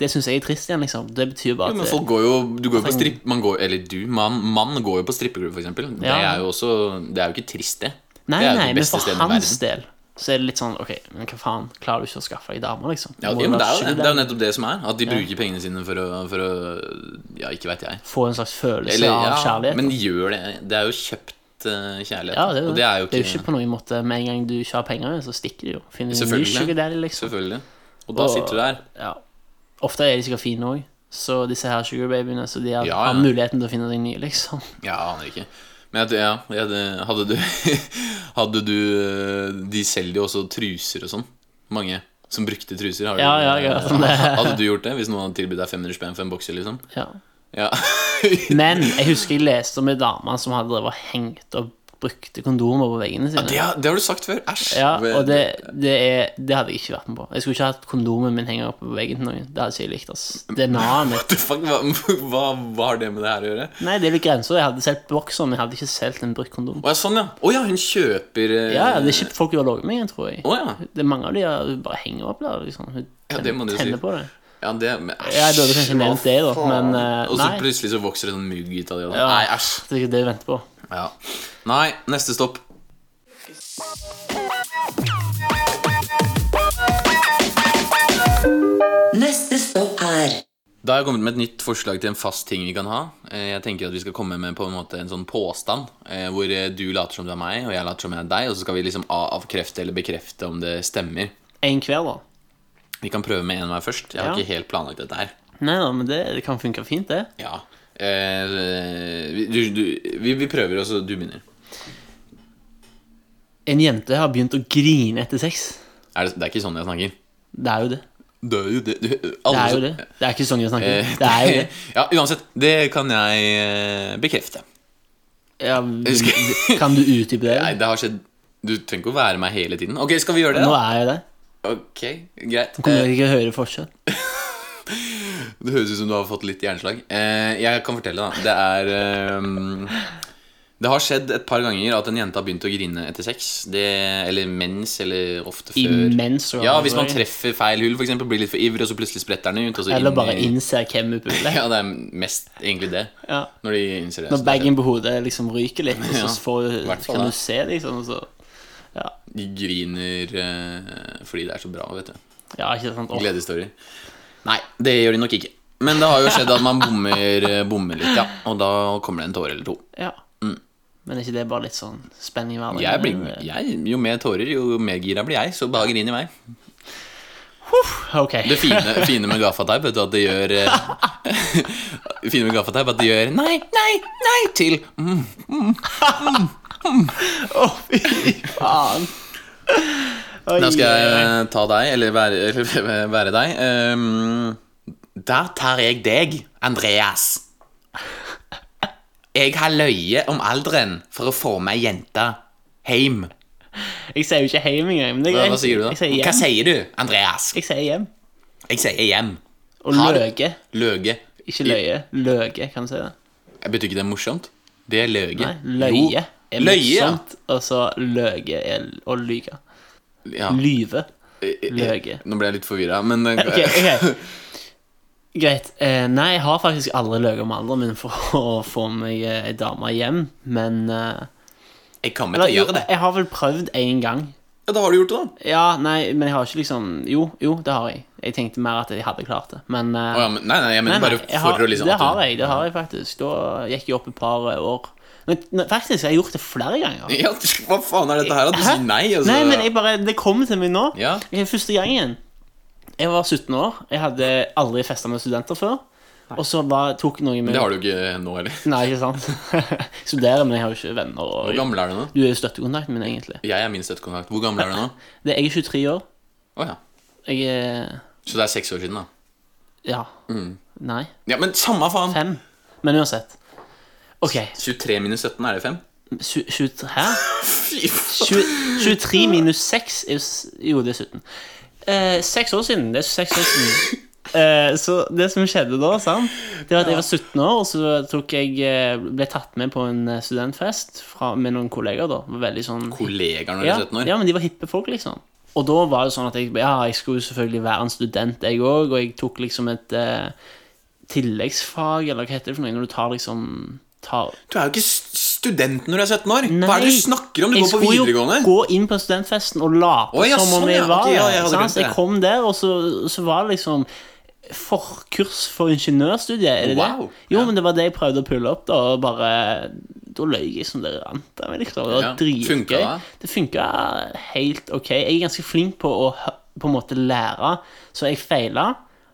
Det syns jeg er trist igjen, liksom. Det betyr bare
men
at altså,
folk går jo Du går jo på stripp... Man går, eller du, mann man går jo på strippeklubb, for eksempel. Det
Ja.
er jo også Det er jo ikke trist, det.
Nei,
det er jo
nei,
det
men
beste
for
stedet i
hans del så er det litt sånn Ok, men hva faen? Klarer du ikke å skaffe deg dame, liksom?
Ja,
Må
ja, men det er, jo, det. det er
være
jo
sugar
nettopp det som er. At de bruker pengene sine for å, for å Ja, ikke veit jeg.
få en slags følelse
Eller,
av
ja,
kjærlighet.
men gjør det. Det er jo kjøpt eh, kjærlighet.
ja, det er jo
og
det.
det er jo
det er jo ikke på noen måte Med en gang du ikke har penger, så stikker de jo. Finner en ny
Selvfølgelig.
sugar daddy, liksom.
Selvfølgelig. Og da
Og-
sitter du der.
Ja. Ofte er de sikkert fine òg, så disse her sugar babyene Så de har,
Ja, ja.
har muligheten til å finne seg ny, liksom.
Ja, jeg aner ikke. Men jeg, ja, jeg, hadde du Hadde du eh, De selger jo også truser og sånn. Mange som brukte truser. Har du,
Ja, ja, jeg har hørt om det.
Hadde du gjort det hvis noen hadde tilbudt deg 500 spenn for en bokser, liksom?
Ja.
Ja.
Men jeg husker jeg leste om ei dame som hadde drevet og hengt opp brukte kondomer på veggene sine.
Det har, det har du sagt før. Æsj.
Ja, og det, det, er, det hadde jeg ikke vært med på. Jeg skulle ikke hatt kondomen min henger opp på veggen til noen. Det hadde ikke jeg likt, ass. DNA-et mitt.
What the fuck, hva, hva, hva har det med det her å gjøre?
Nei, det er litt grenser. Jeg hadde solgt bokseren, men jeg hadde ikke solgt en brukt kondom.
Å ja, sånn, ja. Å ja, hun kjøper eh,
Ja, ja, det er ikke folk som har ligget med, tror jeg.
Å ja.
Det er mange av de der som bare henger opp der. Liksom. Hun
Ja, det må du si.
tenner på det.
ja, det men, æsj,
Jeg burde kanskje
hva
nevnt det, da, men eh,
Og så
nei.
plutselig så vokser det sånn mugg ut av det. da.
Ja.
Nei, æsj.
Det er ikke det jeg venter på.
Ja. Nei, neste stopp.
Neste stopp er
Da har jeg kommet med et nytt forslag til en fast ting vi kan ha. Eh, Jeg tenker at Vi skal komme med på en måte en sånn påstand eh, hvor eh, du later som du er meg, og jeg later som jeg er deg, og så skal vi liksom a- avkrefte eller bekrefte om det stemmer.
En hver, da.
Vi kan prøve med en hver først. Jeg har
Ja.
ikke helt planlagt dette her.
Nei da, men det, det kan funke fint, det.
Ja. Eh, vi- du, du, vi, vi prøver, og så du begynner.
En jente har begynt å grine etter sex.
Er det, det er ikke sånn jeg snakker.
Det er jo det.
Det er jo det. Du,
Det
alle
er jo
som-
det. Det er ikke sånn jeg snakker.
Altså, Eh,
Det er jo det.
Ja, uansett. Det kan jeg eh, bekrefte.
Ja,
Husker-
kan du utdype det?
Nei, det har skjedd Du trenger ikke å være meg hele tiden. Ok, skal vi gjøre det?
Nå
da?
er jeg det.
Ok, greit.
Kommer
Eh,
dere ikke å høre forskjell?
Det høres ut som du har fått litt hjerneslag. Eh, jeg kan fortelle, da. Det er eh, Det har skjedd et par ganger at en jente har begynt å grine etter sex. Det, eller mens, eller ofte før.
Imens
Ja, hvis man treffer feil hull, for eksempel, blir litt for ivrig, og så plutselig spretter den ut. Og så
Eller
inn
bare
i-
innser hvem hun puler.
Ja, det er mest egentlig det.
Ja.
Når de innser det.
Når
så det er
bagen på hodet liksom ryker litt, og
Ja,
så får,
hvert fall
kan
da.
du se, liksom. Og så. Ja.
fett. sånn, De griner eh, fordi det er så bra, vet du.
ja, ikke sant. Åh.
Gledeshistorier. Nei, det gjør de nok ikke. Men det har jo skjedd at man bommer, eh, bommer litt, ja. Og da kommer det en tåre eller to.
Ja. Men er ikke det bare litt sånn spenning i hverdagen?
Mm.
Eh,
Jeg blir, jeg, jo mer tårer, jo mer gira blir jeg, så bare grin i vei.
Ok.
Det fine, fine med gaffateip er at det gjør eh, Det fine med gaffateip er at det gjør nei, nei, nei til mm.
Å, fy faen. Oi,
Da skal jeg
oi, oi.
eh, ta deg, eller være, eller være deg. Ehm, da tar jeg deg, Andreas. Jeg har løyet om alderen for å få meg jenta heim.
Jeg sier jo ikke hjem engang. men det er
Hva,
greit.
hva sier du da?
Jeg sier hjem.
Hva sier du, Andreas?
Jeg sier hjem.
Jeg sier hjem.
Og
Har du-
løge.
Løge.
Ikke løye. Løge, kan du si det?
Jeg betyr ikke det er morsomt. Det er løge.
Nei, løye er
Løye, ja.
morsomt, og så løge er l- å lyge.
Jo, ja.
Lyve.
Løge.
løge.
Nå ble jeg litt forvirra, men eh,
Ok, ok. Greit. Eh, nei, jeg har faktisk aldri løyet om alderen min for å få meg eh, ei dame hjem, men eh,
Jeg kommer
eller,
til å
jo,
gjøre det.
Jeg har vel prøvd én gang.
Ja, Da har du gjort det, da.
Ja, nei, men jeg har ikke liksom Jo, jo, det har jeg. Jeg tenkte mer at jeg hadde klart det, men eh,
Å, ja, men, nei, nei, jeg mener
Nei,
bare
nei, jeg
for
har,
å liksom
Det
at du-
har jeg, det har jeg faktisk. Da gikk jeg opp et par eh, år. Men, men faktisk, jeg har gjort det flere ganger.
Ja, hva faen er dette her? At du
Hæ?
sier nei, altså. og så
Nei, men jeg bare, det kom til meg nå.
Ja.
Ok, første gangen. Jeg var 17 år. Jeg hadde aldri festa med studenter før. Og så var, tok noen med
Det har du ikke eh, nå heller.
Nei, ikke sant. Jeg Studerer, men jeg har jo ikke venner.
Hvor
Og...
gammel er du nå?
Du er jo støttekontakten min, egentlig.
Jeg er min støttekontakt. Hvor gammel er du nå?
Det, jeg er 23 år.
Å ja.
Jeg er
Så det er seks år siden, da.
Ja.
Mm.
Nei.
Ja, men samme faen!
Fem. Men uansett. OK.
23 minus 17, er det 5?
Su- 23 Hæ?
Fy faen.
20, 23 minus 6 er jo, s- jo, det er 17. Eh, seks år siden. Det er seks år siden. Eh, så det som skjedde da, sant? Det var at jeg var 17 år, og så tok jeg, eh, ble tatt med på en eh, studentfest fra, med noen kolleger. da Det var Veldig sånn
Kollegaer når du
ja,
er 17 år?
ja, men de var hippe folk, liksom. Og da var det sånn at jeg, ja, jeg skulle jo selvfølgelig være en student, jeg òg, og jeg tok liksom et eh, tilleggsfag, eller hva heter det for noe, når du tar liksom tar,
Du er jo ikke s- student når du er 17 år! Hva er det du snakker om? Du går på
Jeg
videregående!
skulle jo gå inn på studentfesten og late
Å, ja,
som om
sånn,
jeg
ja.
var
Ok, ja,
der,
jeg hadde
sant?
glemt det.
Jeg kom der, og så, så var det liksom forkurs for ingeniørstudiet. Er det
Wow,
det? Jo,
ja.
men det var det jeg prøvde å pulle opp, da, og bare Da løy jeg som det rant av meg, liksom. Det var
Ja,
dritgøy.
funket det?
Det funka helt ok. Jeg er ganske flink på å hø- på en måte lære, så jeg feila.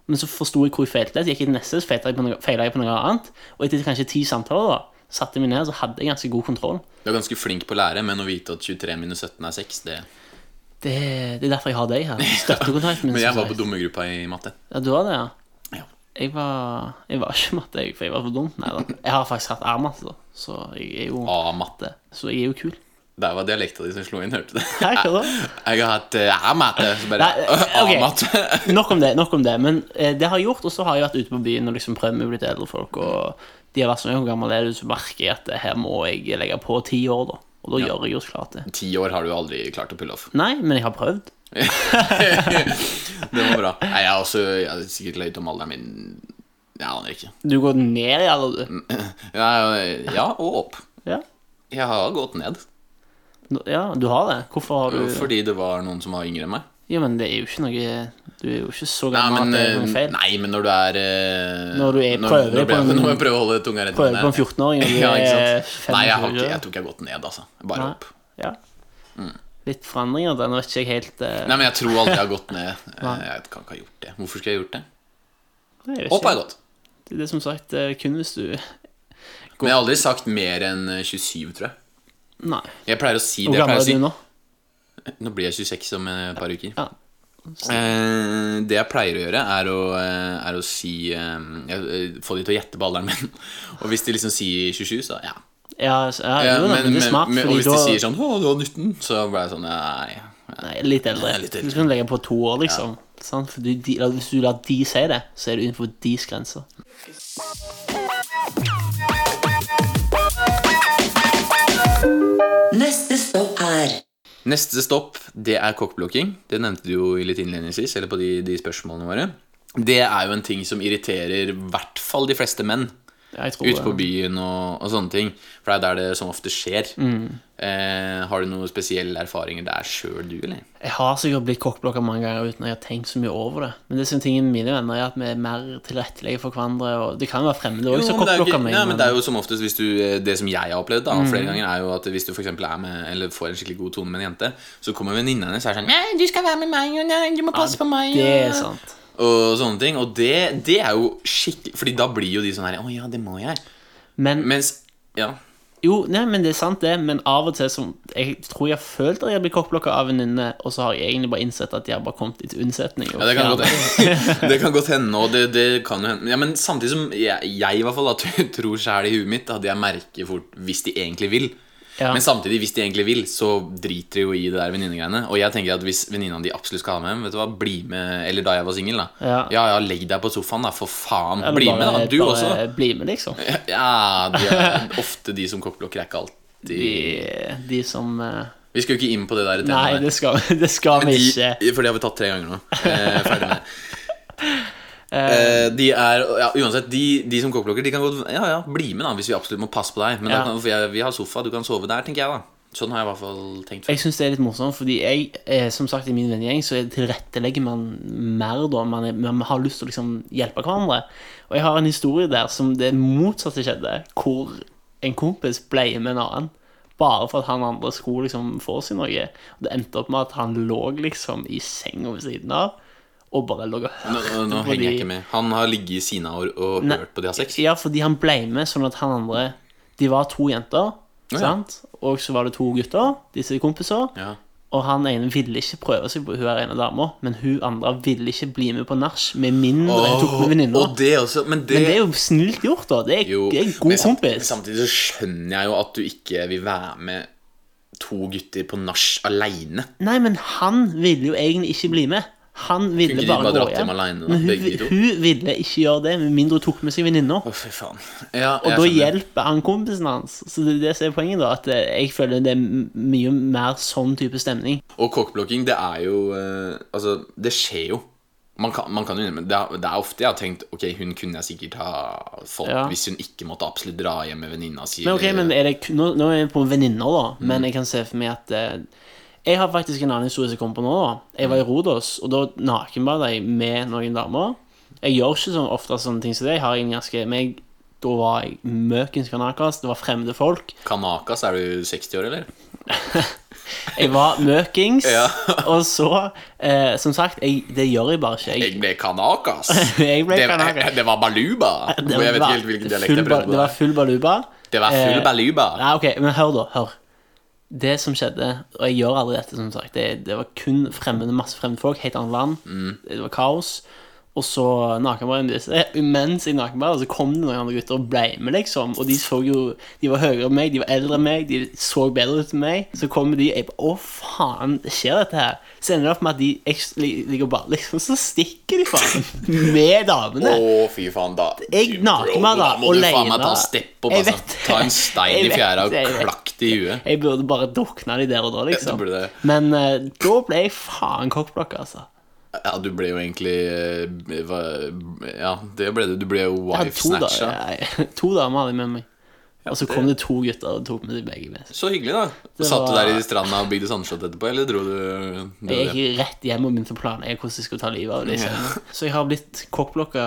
Men så forsto jeg hvor jeg feilte. Så gikk jeg til neste, så feila jeg, på noe- feila jeg på noe annet. Og etter kanskje ti samtaler da satte jeg meg ned, så hadde jeg ganske god kontroll.
Du er ganske flink på å lære, men å vite at 23 minus 17 er 6, det
Det, det er derfor jeg har deg her. Støttekontakten min.
Men jeg
som
var på
sagt.
dummegruppa i matte.
Ja, du har det, ja?
Ja.
Jeg var, jeg var ikke matte, jeg, for jeg var for dum. Nei da. Jeg har faktisk hatt A-matte, da. Så jeg er
Ah.
jo
A-matte.
Så jeg er jo kul. altså.
Der var dialekta di som slo inn, hørte du det?
Hæ, hva da?
Jeg har hatt eh, A-matte. Så bare
Nei, eh, ok.
A-matte.
Nok om det. nok om det Men eh, det har jeg gjort, og så har jeg vært ute på byen og liksom prøvd med litt eldre folk. Og de har vært sånn Hvor gammel er du? Så merker jeg at eh, her må jeg legge på ti år, da. Og da gjør jeg jo så klart det.
Ti år har du aldri klart å pulle off.
Nei, men jeg har prøvd.
Det var bra. Nei, jeg har også jeg har sikkert løyet om alderen min Jeg aner ikke.
Du går ned i alder, du.
Mm. Ja, eh, ja, og opp.
Ja.
Jeg har gått ned.
Nå- ja, du har det. Hvorfor har du
Fordi det var noen som var yngre enn meg.
Ja, men det er jo ikke noe Du er jo ikke så
Nei,
gammel
men,
at det er
eh,
noe feil.
nei, men når du er eh,
Når du er- prøver
når, når,
på en-
når jeg prøver å holde tunga rett i
prøver
munnen,
på en 14-åring, og du
eh, ja, ikke
er
sant? Nei, jeg, har
25,
ikke,
ja.
jeg tror ikke jeg har gått ned, altså. Bare
Nei.
opp.
Ja. Litt forandringer der. Nå vet ikke jeg helt eh,
Nei, men jeg tror aldri jeg har gått ned. Eh, Jeg kan ikke ha gjort det. Hvorfor skulle jeg ha gjort det?
nei, jeg vet
Opp
ikke.
har jeg gått.
Det er som sagt eh, kun hvis du
Men jeg har aldri sagt mer enn eh, 27, tror jeg.
Nei.
Jeg pleier å si det.
Hvor
Jeg pleier
gammel
å
er
si,
du nå?
Nå blir jeg 26 om et par uker.
Ja.
Eh, det jeg pleier å gjøre, er å, eh, er å si eh, jeg- eh, Få de til å gjette på alderen min. Og hvis de liksom sier 27, så ja.
Ja, altså, ja,
Eh,
jo, da, men, det er smart,
men- og
fordi
hvis de sier
da
sånn 'Å, du var 19', så ble jeg sånn Nei.
Nei, litt eldre.
Ja, litt eldre.
Du kan legge på to år, liksom. Sant? Fordi de, eller hvis du lar de si det, så er du innenfor deres grenser.
Neste stopp er
Neste stopp, det er kokkblokking. Det nevnte du jo litt innledningsvis, eller på de, de spørsmålene våre. Det er jo en ting som irriterer i hvert fall de fleste menn.
Ja, jeg tror
Ute på
det.
byen og, og sånne ting. For det er der det som ofte skjer. Eh, har du noen spesielle erfaringer der sjøl, du, eller?
Jeg har sikkert blitt kokkblokka mange ganger uten at jeg har tenkt så mye over det. Men det som tingen med mine venner er at vi er mer tilrettelegge for hverandre. Og det kan jo være fremmede òg som
men det er jo
kokkblokker
ikke- Nei,
meg.
men
men- Mm.
det er jo som oftest hvis du, eh, Det som jeg har opplevd da, flere ganger, er jo at hvis du for eksempel er med Eller får en skikkelig god tone med en jente, så kommer venninna hennes og er sånn «Nei, 'Du skal være med meg, og nei, du må passe på meg'
Det
og-
er sant.
Og sånne ting. Og det, det er jo skikkelig Fordi da blir jo de sånn her 'Å ja, det må jeg'.
Men
Mens Ja.
Jo, nei, men det er sant, det. Men av og til som Jeg tror jeg har følt at jeg har blitt kokkblokka av venninne, og så har jeg egentlig bare innsett at de har bare kommet til unnsetning. og
Ja, det kan
fjernet
godt hende. Det kan godt hende, og det, det kan jo hende. Ja, men samtidig som jeg, jeg i hvert fall da, tror sjæl i huet mitt at jeg merker fort hvis de egentlig vil.
Ja.
Men samtidig, hvis de egentlig vil, så driter de jo i det der venninnegreiene. Og jeg tenker at hvis venninna di absolutt skal ha med hjem, vet du hva, bli med Eller da jeg var singel, da.
Ja.
ja legg deg på sofaen, da, for faen.
Eller
Bli
bare-
med, da. Du
bare
også. da.
Bli med, liksom.
Ja, de er ofte de som kokkblokker er ikke alltid
De, de som eh,
Vi skal jo ikke inn på det der temaet.
Nei, det skal, det skal vi ikke.
De, for det har vi tatt tre ganger nå. Eh, ferdig med det. Eh, de er ja, Uansett, de, de som kokkblokker, de kan godt Ja, ja, bli med, da, hvis vi absolutt må passe på deg. Men da
Ja.
kan, for jeg, vi har sofa, du kan sove der, tenker jeg, da. Sånn har jeg i hvert fall tenkt.
Jeg syns det er litt morsomt, fordi jeg, eh, som sagt, i min vennegjeng så er- tilrettelegger man mer, da. Man, er, man har lyst til å liksom hjelpe hverandre. Og jeg har en historie der som det motsatte skjedde, hvor en kompis ble med en annen. Bare for at han andre skulle liksom få seg noe. Og det endte opp med at han lå liksom i senga ved siden av, og bare lå og
Nå, nå, nå
på
henger jeg
de-
ikke med. Han har ligget i sina år og
Nei.
hørt på de har sex.
Ja, fordi han ble med sånn at han andre De var to jenter,
ja.
sant? Og så var det to gutter, disse kompiser.
Ja.
Og han ene ville ikke prøve seg på hun her ene dama, men hun andre ville ikke bli med på nach med mindre hun tok
Åh,
med venninna.
og det også, men det,
Men det er jo snilt gjort, da. Det er,
jo-
det er en
men
god
sam-
kompis.
Samtidig så skjønner jeg jo at du ikke vil være med to gutter på nach aleine.
Nei, men han ville jo egentlig ikke bli med. Han ville
Kunne ikke de
bare
bare
gå
dratt
hjem.
hjem alene, da,
men hun,
begge de to?
hun ville ikke gjøre det, med mindre hun tok med seg venninna.
Å, fy faen. Ja,
Og
jeg
da
skjønner.
hjelper han kompisen hans. Så det er det som er poenget, da. At eh, jeg føler det er m- mye mer sånn type stemning.
Og kokkblokking, det er jo eh, Altså, det skjer jo. Man kan, man kan jo innrømme det, er- det er ofte jeg har tenkt Ok, hun kunne jeg sikkert ha fått
Ja.
hvis hun ikke måtte absolutt dra hjem med venninna si.
Men ok,
eller-
men er det, kun- nå, nå er vi på venninner, da.
Mm.
Men jeg kan se for meg at eh, Jeg har faktisk en annen historie som jeg kom på nå. da Jeg var
Mm.
i Rodos, og da nakenbada jeg med noen damer. Jeg gjør ikke så ofte sånne ting som det. Jeg har en ganske Men jeg, da var jeg møkens kanakas. Det var fremmede folk.
Kanakas, er du 60 år, eller?
Jeg var møkings.
Ja.
Og så, eh, som sagt, jeg, det gjør jeg bare ikke. Jeg,
Jeg ble kanakas.
Jeg ble
det,
kanakas.
Det var baluba.
Det
jeg vet
var
ikke helt hvilken dialekt
full
jeg prøvde
ba- Det var
på.
full baluba.
Det var full
eh,
baluba.
Nei, ok, men hør da, hør. Det som skjedde, og jeg gjør aldri dette, som sagt, det, det var kun fremmede, masse fremmede folk, helt annet land, det var kaos. Og så nakenbaren Mens jeg nakenbar, så kom det noen andre gutter og ble med, liksom. Og de så jo De var høyere enn meg, de var eldre enn meg, de så bedre ut enn meg. Så kommer de, og jeg bare Å, faen, det skjer dette her? Så ender det opp med at de eks- li- ligger bare liksom Så stikker de, faen. Med damene.
Å, fy faen, da.
Jeg naker meg da,
Bro, må du faen
alene.
meg ta stepp opp,
Jeg
altså.
vet det.
Ta en stein i
Jeg vet
fjæra og
det, jeg vet
klakk det i huet.
Jeg burde bare drukna de der og
Ja,
da, liksom.
du burde det.
Men eh, da ble jeg faen kokkblokka, altså.
Ja, du ble jo egentlig eh, hva- Ja, det ble du. Du ble jo
Jeg hadde
wife
to, da,
snatcha.
nei, to damer hadde jeg med meg. Og så
det-
kom det to gutter og tok med de begge med.
Så hyggelig, da.
Det
Satt du
var-
der i stranda og bygde sandslott etterpå, eller dro du, dro du
Jeg
hjem?
gikk rett hjem og begynte å planlegge hvordan jeg skulle ta livet av dem. liksom. Så jeg har blitt kokkblokka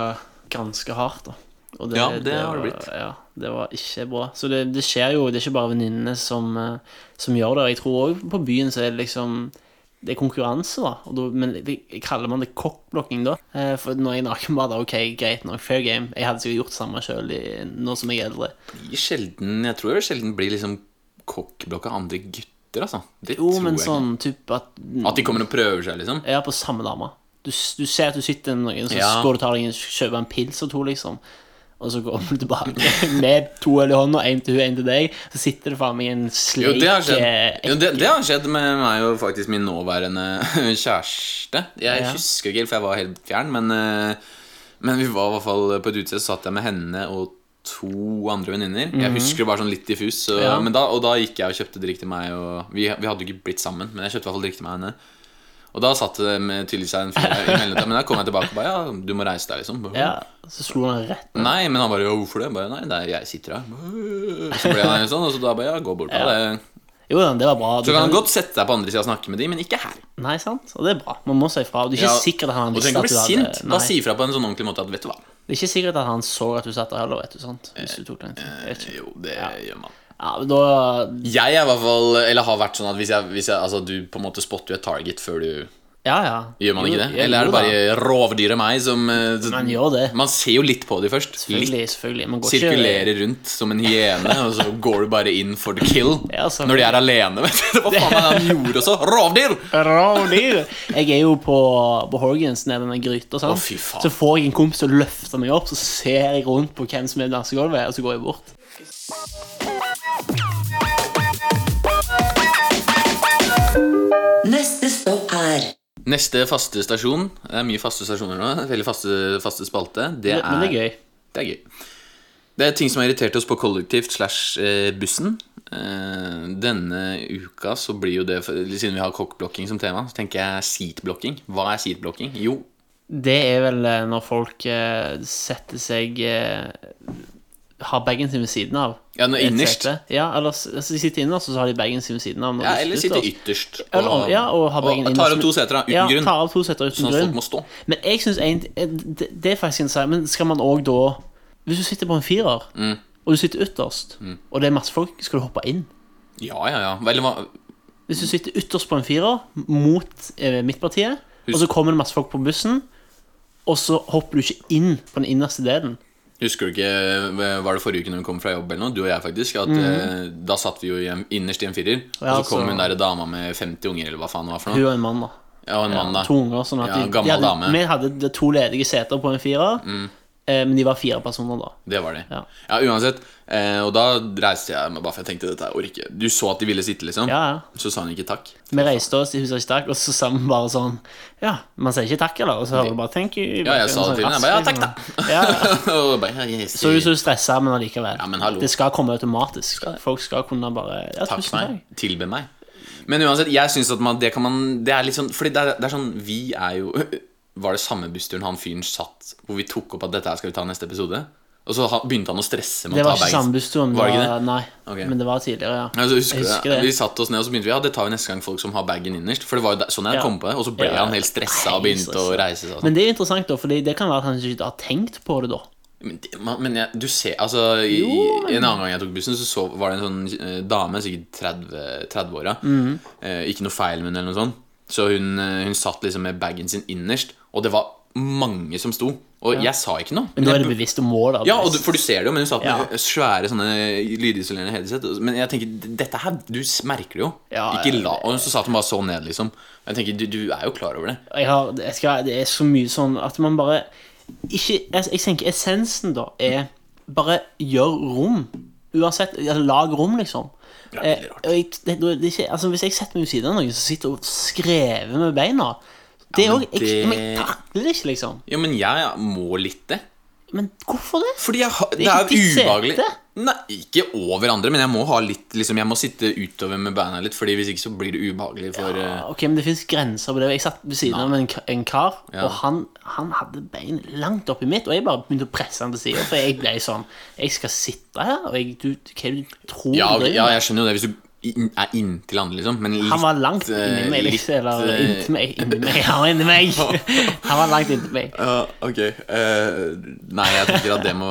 ganske hardt, da. Og
Ja, det har
var,
du blitt.
Ja, det var ikke bra. Så det, det skjer jo, det er ikke bare venninnene som, eh, som gjør det. Jeg tror òg på byen så er det liksom det er konkurranse, da. Og da men det, kaller man det kokkblokking da? Eh, for når jeg er naken, bare da, ok, greit nok, fair game. Jeg hadde sikkert gjort det samme sjøl nå som jeg er eldre.
Blir Sjelden, jeg tror det sjelden blir liksom kokkblokk av andre gutter, altså. Det
Jo,
tror
men
jeg
sånn type at
ikke. At de kommer og prøver seg, liksom?
Ja, på samme dame. Du, du ser at du sitter med noen, så
Ja.
går du og tar deg en, kjøper en pils og to, liksom. Og så går du tilbake med to øl i hånda, én til hun, én til deg. Så sitter det faen meg en
Jo,
sleik
det har skjedd.
eh,
Jo, det, det har skjedd med meg og faktisk min nåværende kjæreste. Jeg
Ja.
husker ikke helt, for jeg var helt fjern, men, eh, men vi var i hvert fall på et utested, så satt jeg med henne og to andre venninner. Jeg husker det bare sånn litt diffus, så,
Mhm. Ja.
men da, og da gikk jeg og kjøpte drikk til meg, og vi, vi hadde jo ikke blitt sammen, men jeg kjøpte i hvert fall drikk til meg og henne. Og da satt det med- tydeligvis en fyr i mellomtiden, men da kom jeg tilbake og bare ja, du må reise deg, liksom.
Ja, så slo han rett.
Nei, men han bare ja, hvorfor det? Jeg bare nei, det er, jeg sitter her. Så ble han sånn, og så da bare ja, gå bort. Ja. Det,
Jo da, det var bra. Du
så kan
kan-
du godt sette deg på andre sida og snakke med de, men ikke her.
Nei, sant? Og det er bra. Man må si ifra. Og det er ikke
Ja,
sikkert at han
Og du
visste
trenger ikke
at
bli
du hadde
sint. Bare
Nei.
si ifra på en sånn ordentlig måte at vet du hva.
Det er ikke sikkert at han så at du satt der heller, vet du. sant? Hvis du tok den. Jeg vet ikke.
Eh, Jo, det gjør man.
Ja, men da
Jeg er i hvert fall, eller har vært sånn at hvis jeg, hvis jeg Altså, du på en måte spotter jo et target før du
Ja, ja.
Gjør man ikke
Jo,
det?
ja,
Eller er det
jo da.
bare rovdyret meg som eh, så-
Man gjør det.
Man ser jo litt på de først. Litt.
Selvfølgelig. selvfølgelig. Man går ikke-
Sirkulerer rundt som en hyene, og så går du bare inn for the kill.
Ja, så-
Når de er alene, vet du. Hva faen er det han gjorde også? Rovdyr!
Rovdyr! Jeg er jo på, på Horgans nede med gryta,
Å,
sant?
fy faen.
så får jeg en kompis til å løfte meg opp, så ser jeg rundt på hvem som er på dansegulvet, og så går jeg bort.
Neste stopp er
Neste faste stasjon Det er mye faste stasjoner nå. Veldig faste, faste spalte. Det er,
Men det er gøy.
Det er gøy. Det er ting som har irritert oss på kollektivt slash eh, bussen. Eh, Denne uka så blir jo det for- Siden vi har kokkblokking som tema, så tenker jeg seatblokking. Hva er seatblokking? Jo,
Det er vel eh, når folk eh, setter seg eh, Har bagen sin ved siden av.
ja, nå
Et
innerst.
sete. Ja, eller s- altså, de sitter innerst, og så har de bagen sin ved siden av. når
Ja,
de
eller
sitter
sitte ytterst.
Eller om- altså. ja, og ha bagen
tar
innerst,
opp to seter, da, uten
ja,
grunn.
tar av to setter uten
Sånn at
grunn.
folk må stå.
Men jeg synes en, det, det er faktisk en sak, men skal man òg da Hvis du sitter på en firer,
Mm.
og du sitter ytterst, og det er masse folk, skal du hoppe inn?
Ja, ja, ja. Vel, hva- Mm.
Hvis du sitter ytterst på en firer, mot eh, midtpartiet, og så kommer det masse folk på bussen, og så hopper du ikke inn på den innerste delen.
Husker du ikke, eh, var det forrige uke når vi kom fra jobb eller noe, du og jeg faktisk, at eh, da satt vi jo i en, innerst i en firer,
Mm. Ja,
og så kom
så-
hun der dama med 50 unger, eller hva faen det var for
Hun
noe.
og en mann, da.
Ja, og en mann da.
To unger. Sånn at
Ja,
de,
gammel
de hadde,
dame. Mm.
Vi hadde de to ledige seter på en firer, eh, men de var fire personer da.
Det var det. Ja,
Ja.
uansett. Eh, og da reiste jeg meg bare, for jeg tenkte dette her orker jeg. Du så at de ville sitte, liksom.
Ja, ja.
Så sa hun ikke takk.
Vi reiste oss, de husker ikke takk, og så sa vi bare sånn Ja, man sier ikke takk, eller? Og så hører du bare «thank you».
Ja, jeg sa det til henne. Jeg bare, ja, takk, da.
Ja, ja.
og bare, ja, yes,
Så du så stressa, men allikevel.
Ja, men hallo.
Det skal komme automatisk. Folk skal kunne bare ja,
Takk
tusen
for
takk.
meg. Tilbe meg. Men uansett, jeg syns at man, det kan man Det er litt sånn Fordi det er, det er sånn Vi er jo Var det samme bussturen han fyren satt hvor vi tok opp at dette her skal vi ta i neste episode? Og så ha- begynte han å stresse med
Det
å ta
var ikke
bagen.
samme bussturen.
Var det ikke det?
Nei,
Ok.
men det var tidligere, ja.
Ja, så husker
Jeg
du
husker
det.
det.
Vi satt oss ned og så begynte vi Ja, det tar vi neste gang folk som har bagen innerst. For det var jo der, sånn jeg
Ja.
kom på det. Og så ble
Ja. altså.
han helt stressa og begynte å
Stressa.
reise seg. og sånn.
Men det er interessant, da, for det kan være at han ikke har tenkt på det da.
Men, det- man- men jeg, du ser Altså, i,
Jo,
en annen gang jeg tok bussen, så, så var det en sånn eh, dame, sikkert 30 30-åra.
Mhm.
eh, ikke noe feil med henne, eller noe sånt. Så hun, eh, hun satt liksom med bagen sin innerst, og det var mange som sto. Og jeg sa ikke noe.
Men nå er det bevisst om mål, da.
Ja, og du, for du ser det jo, men hun satt med
Ja.
svære sånne lydisolerende headset. Men jeg tenker, dette her, du merker det jo.
Ja,
ikke
ja,
la, og så satt hun bare så ned, liksom. Jeg tenker, du, du er jo klar over det.
jeg har, jeg skal, det er så mye sånn at man bare ikke, jeg, jeg tenker essensen da er bare gjør rom. Uansett, altså, lag rom, liksom.
Ja,
Eh,
veldig rart.
og jeg, det, det er ikke, altså, hvis jeg setter meg ved siden av noen som sitter og skrever med beina Det er
Ja,
òg
men
jeg,
det-
men jeg takler det ikke, liksom.
Jo, men jeg må litt det.
Men hvorfor det?
Fordi jeg har, det,
er
er
ikke ditt
jo ubehagelig.
sete.
Nei, ikke over andre, men jeg må ha litt liksom, Jeg må sitte utover med beina litt, Fordi hvis ikke så blir det ubehagelig for eh,
Ah, Ok, men Det fins grenser på det. Jeg satt ved siden av en, k- en kar,
Ja.
og han, han hadde bein langt oppi mitt. Og jeg bare begynte å presse han til sida, for jeg ble sånn Jeg skal sitte her, og jeg, du, hva er det du tror
ja,
du
ok,
driver
ja,
med?
jeg skjønner jo det hvis du in- er inntil andre, liksom. Men litt,
Han var langt inni
eh,
meg,
litt,
liksom. Eller
eh,
inntil meg. Inni meg. Han var inni meg. Han var langt inntil meg.
Ja, ok. Eh, nei, jeg tenker at det må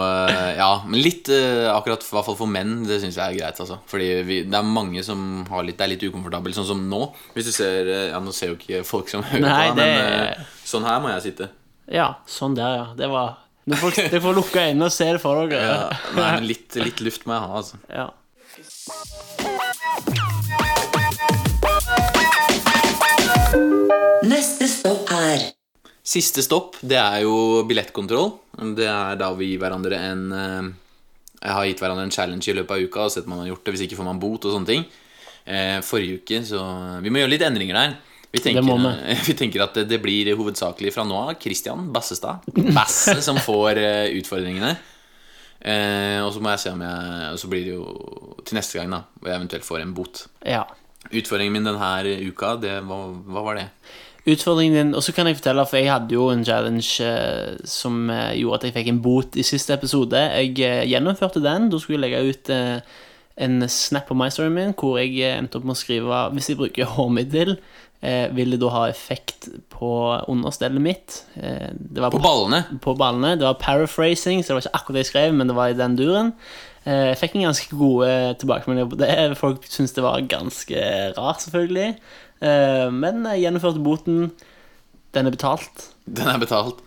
Ja, men litt eh, akkurat for- i hvert fall for menn, det syns jeg er greit, altså. Fordi vi, det er mange som har litt Det er litt ukomfortabelt, sånn som nå. Hvis du ser eh, Ja, nå ser jo ikke folk som hører
Nei,
på, da, men
det-
eh, sånn her må jeg sitte.
Ja, sånn der, ja. Det var Dere får, dere får lukke øynene og se det for
Ja,
dere.
nei, men litt, litt luft må jeg ha, altså.
Ja.
Neste stopp er
Siste stopp, det er jo billettkontroll. Det er da vi gir hverandre en eh, Jeg har gitt hverandre en challenge i løpet av uka og sett om man har gjort det. Hvis ikke får man bot og sånne ting. Eh, Forrige uke, så Vi må gjøre litt endringer der. Vi tenker,
må
vi tenker at det, det blir hovedsakelig fra nå av Christian Bassestad Basse som får eh, utfordringene. Eh, og så må jeg se om jeg Og så blir det jo til neste gang, da, hvor jeg eventuelt får en bot.
ja.
Utfordringen min denne uka, det, hva, hva var det?
Utfordringen din Og så kan jeg fortelle, for jeg hadde jo en challenge eh, som eh, gjorde at jeg fikk en bot i siste episode. Jeg eh, gjennomførte den. Da skulle jeg legge ut eh, en snap på MyStoryen min hvor jeg eh, endte opp med å skrive Hvis jeg bruker hårmiddel, eh, vil det da ha effekt på understellet mitt? Eh, det var
På ballene!
på ballene. Det var paraphrasing, så det var ikke akkurat det jeg skrev, men det var i den duren. Eh, Jeg fikk en ganske gode tilbakemeldinger på det. Folk syntes det var ganske rart, selvfølgelig. Eh, Men jeg gjennomførte boten. Den er betalt.
Den er betalt.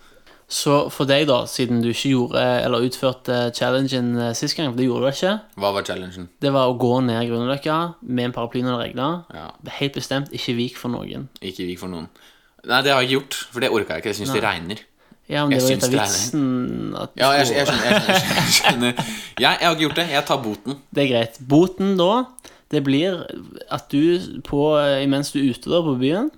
Så for deg, da, siden du ikke gjorde eller utførte challengen eh, sist gang, for det gjorde du ikke,
Hva var challengen?
det var å gå ned Grünerløkka med en paraply når det regnet.
Ja,
Helt bestemt ikke vik for noen.
ikke vik for noen. Nei, det har jeg ikke gjort, for det orka jeg ikke. Jeg syns det regner.
Ja, men det
Jeg
var
syns
litt av
det er
vitsen at
Ja, jeg, jeg skjønner. Jeg, skjønner, jeg, skjønner. Jeg, jeg har ikke gjort det. Jeg tar boten.
Det er greit. Boten da, det blir at du på, eh, imens du er ute da på byen,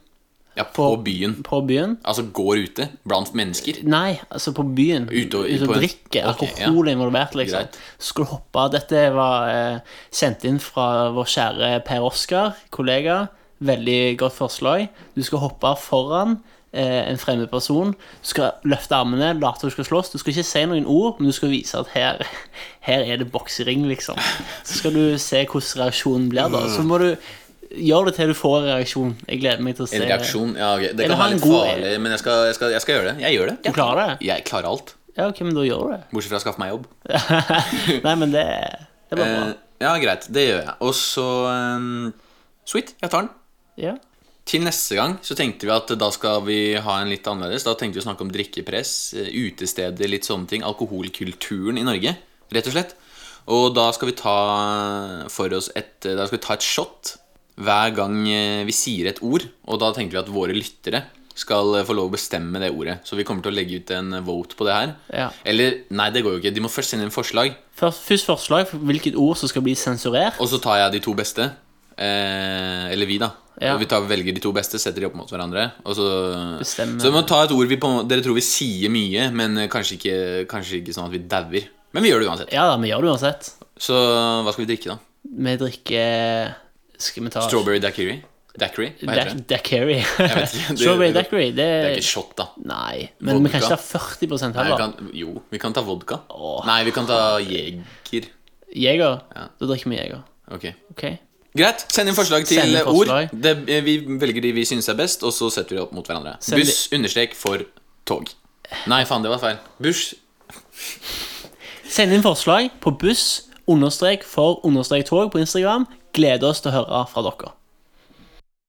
Ja, på
På-
byen.
på byen,
Altså går ute blant mennesker.
nei, altså på byen,
Ute og-
og
på en- Ok,
drikke,
ja.
alkohol er involvert liksom.
Greit.
Så Skal du hoppe, dette var eh, sendt inn fra vår kjære Per Oskar, kollega, veldig godt forslag. Du skal hoppe foran eh, en fremmed person, du skal løfte armene, late du skal slåss, du skal ikke si noen ord, men du skal vise at her, her er det boksering liksom. Så skal du se hvordan reaksjonen blir da, så må du gjøre det til du får en reaksjon. Jeg gleder meg til å se.
En reaksjon. Ja, ok. Det
Eller
kan
ha
være
en
litt
god-
farlig, men jeg skal, jeg, skal, jeg skal gjøre det. Jeg gjør det.
Du
Jeg,
klarer det?
jeg klarer alt.
Ja, ok, men da gjør du det.
Bortsett fra å skaffe meg jobb.
Nei, men det, det var bra.
Eh, ja, greit. Det gjør jeg. Og så eh, Sweet. Jeg tar den.
Ja.
Til neste gang så tenkte vi at da skal vi ha en litt annerledes. Da tenkte vi å snakke om drikkepress, eh, utesteder, litt sånne ting. Alkoholkulturen i Norge, rett og slett. Og da skal vi ta for oss et eh, Da skal vi ta et shot hver gang eh, vi sier et ord. Og da tenker vi at våre lyttere skal eh, få lov å bestemme det ordet. Så vi kommer til å legge ut en vote på det her.
Ja.
Eller nei, det går jo ikke. De må først sende inn forslag,
Først, først forslag for hvilket ord som skal bli sensurert.
og så tar jeg de to beste. Eh, eller vi, da.
Ja.
Og Vi tar, velger de to beste, setter de opp mot hverandre. Og så, så
Bestemmer.
vi må ta et ord vi på, dere tror vi sier mye, men eh, kanskje ikke, kanskje ikke sånn at vi dauer. Men vi gjør det uansett.
Ja da, vi gjør det uansett.
Så hva skal vi drikke, da?
Vi drikker eh, Skal vi ta
Strawberry daiquiri? Daiquiri? Hva heter det?
Daiquiri.
vet ikke. Det-
Strawberry
det-
daiquiri, det
Det er ikke shot, da.
Nei. Men vi kan ikke
Vodka.
ta 40
Nei, vi
heller.
kan, jo, vi kan ta vodka.
Åh.
Nei, vi kan ta jeger.
Jeger.
Ja.
Da drikker vi jeger.
Ok.
Ok.
Greit. Send inn forslag til
Send inn forslag.
ord. Det, eh, vi velger de vi syns er best, og så setter vi det opp mot hverandre.
Send de-
Buss understrek for tog. Nei, faen, det var feil. Buss
Send inn forslag på buss understrek for understrek tog på Instagram. Gleder oss til å høre fra dere.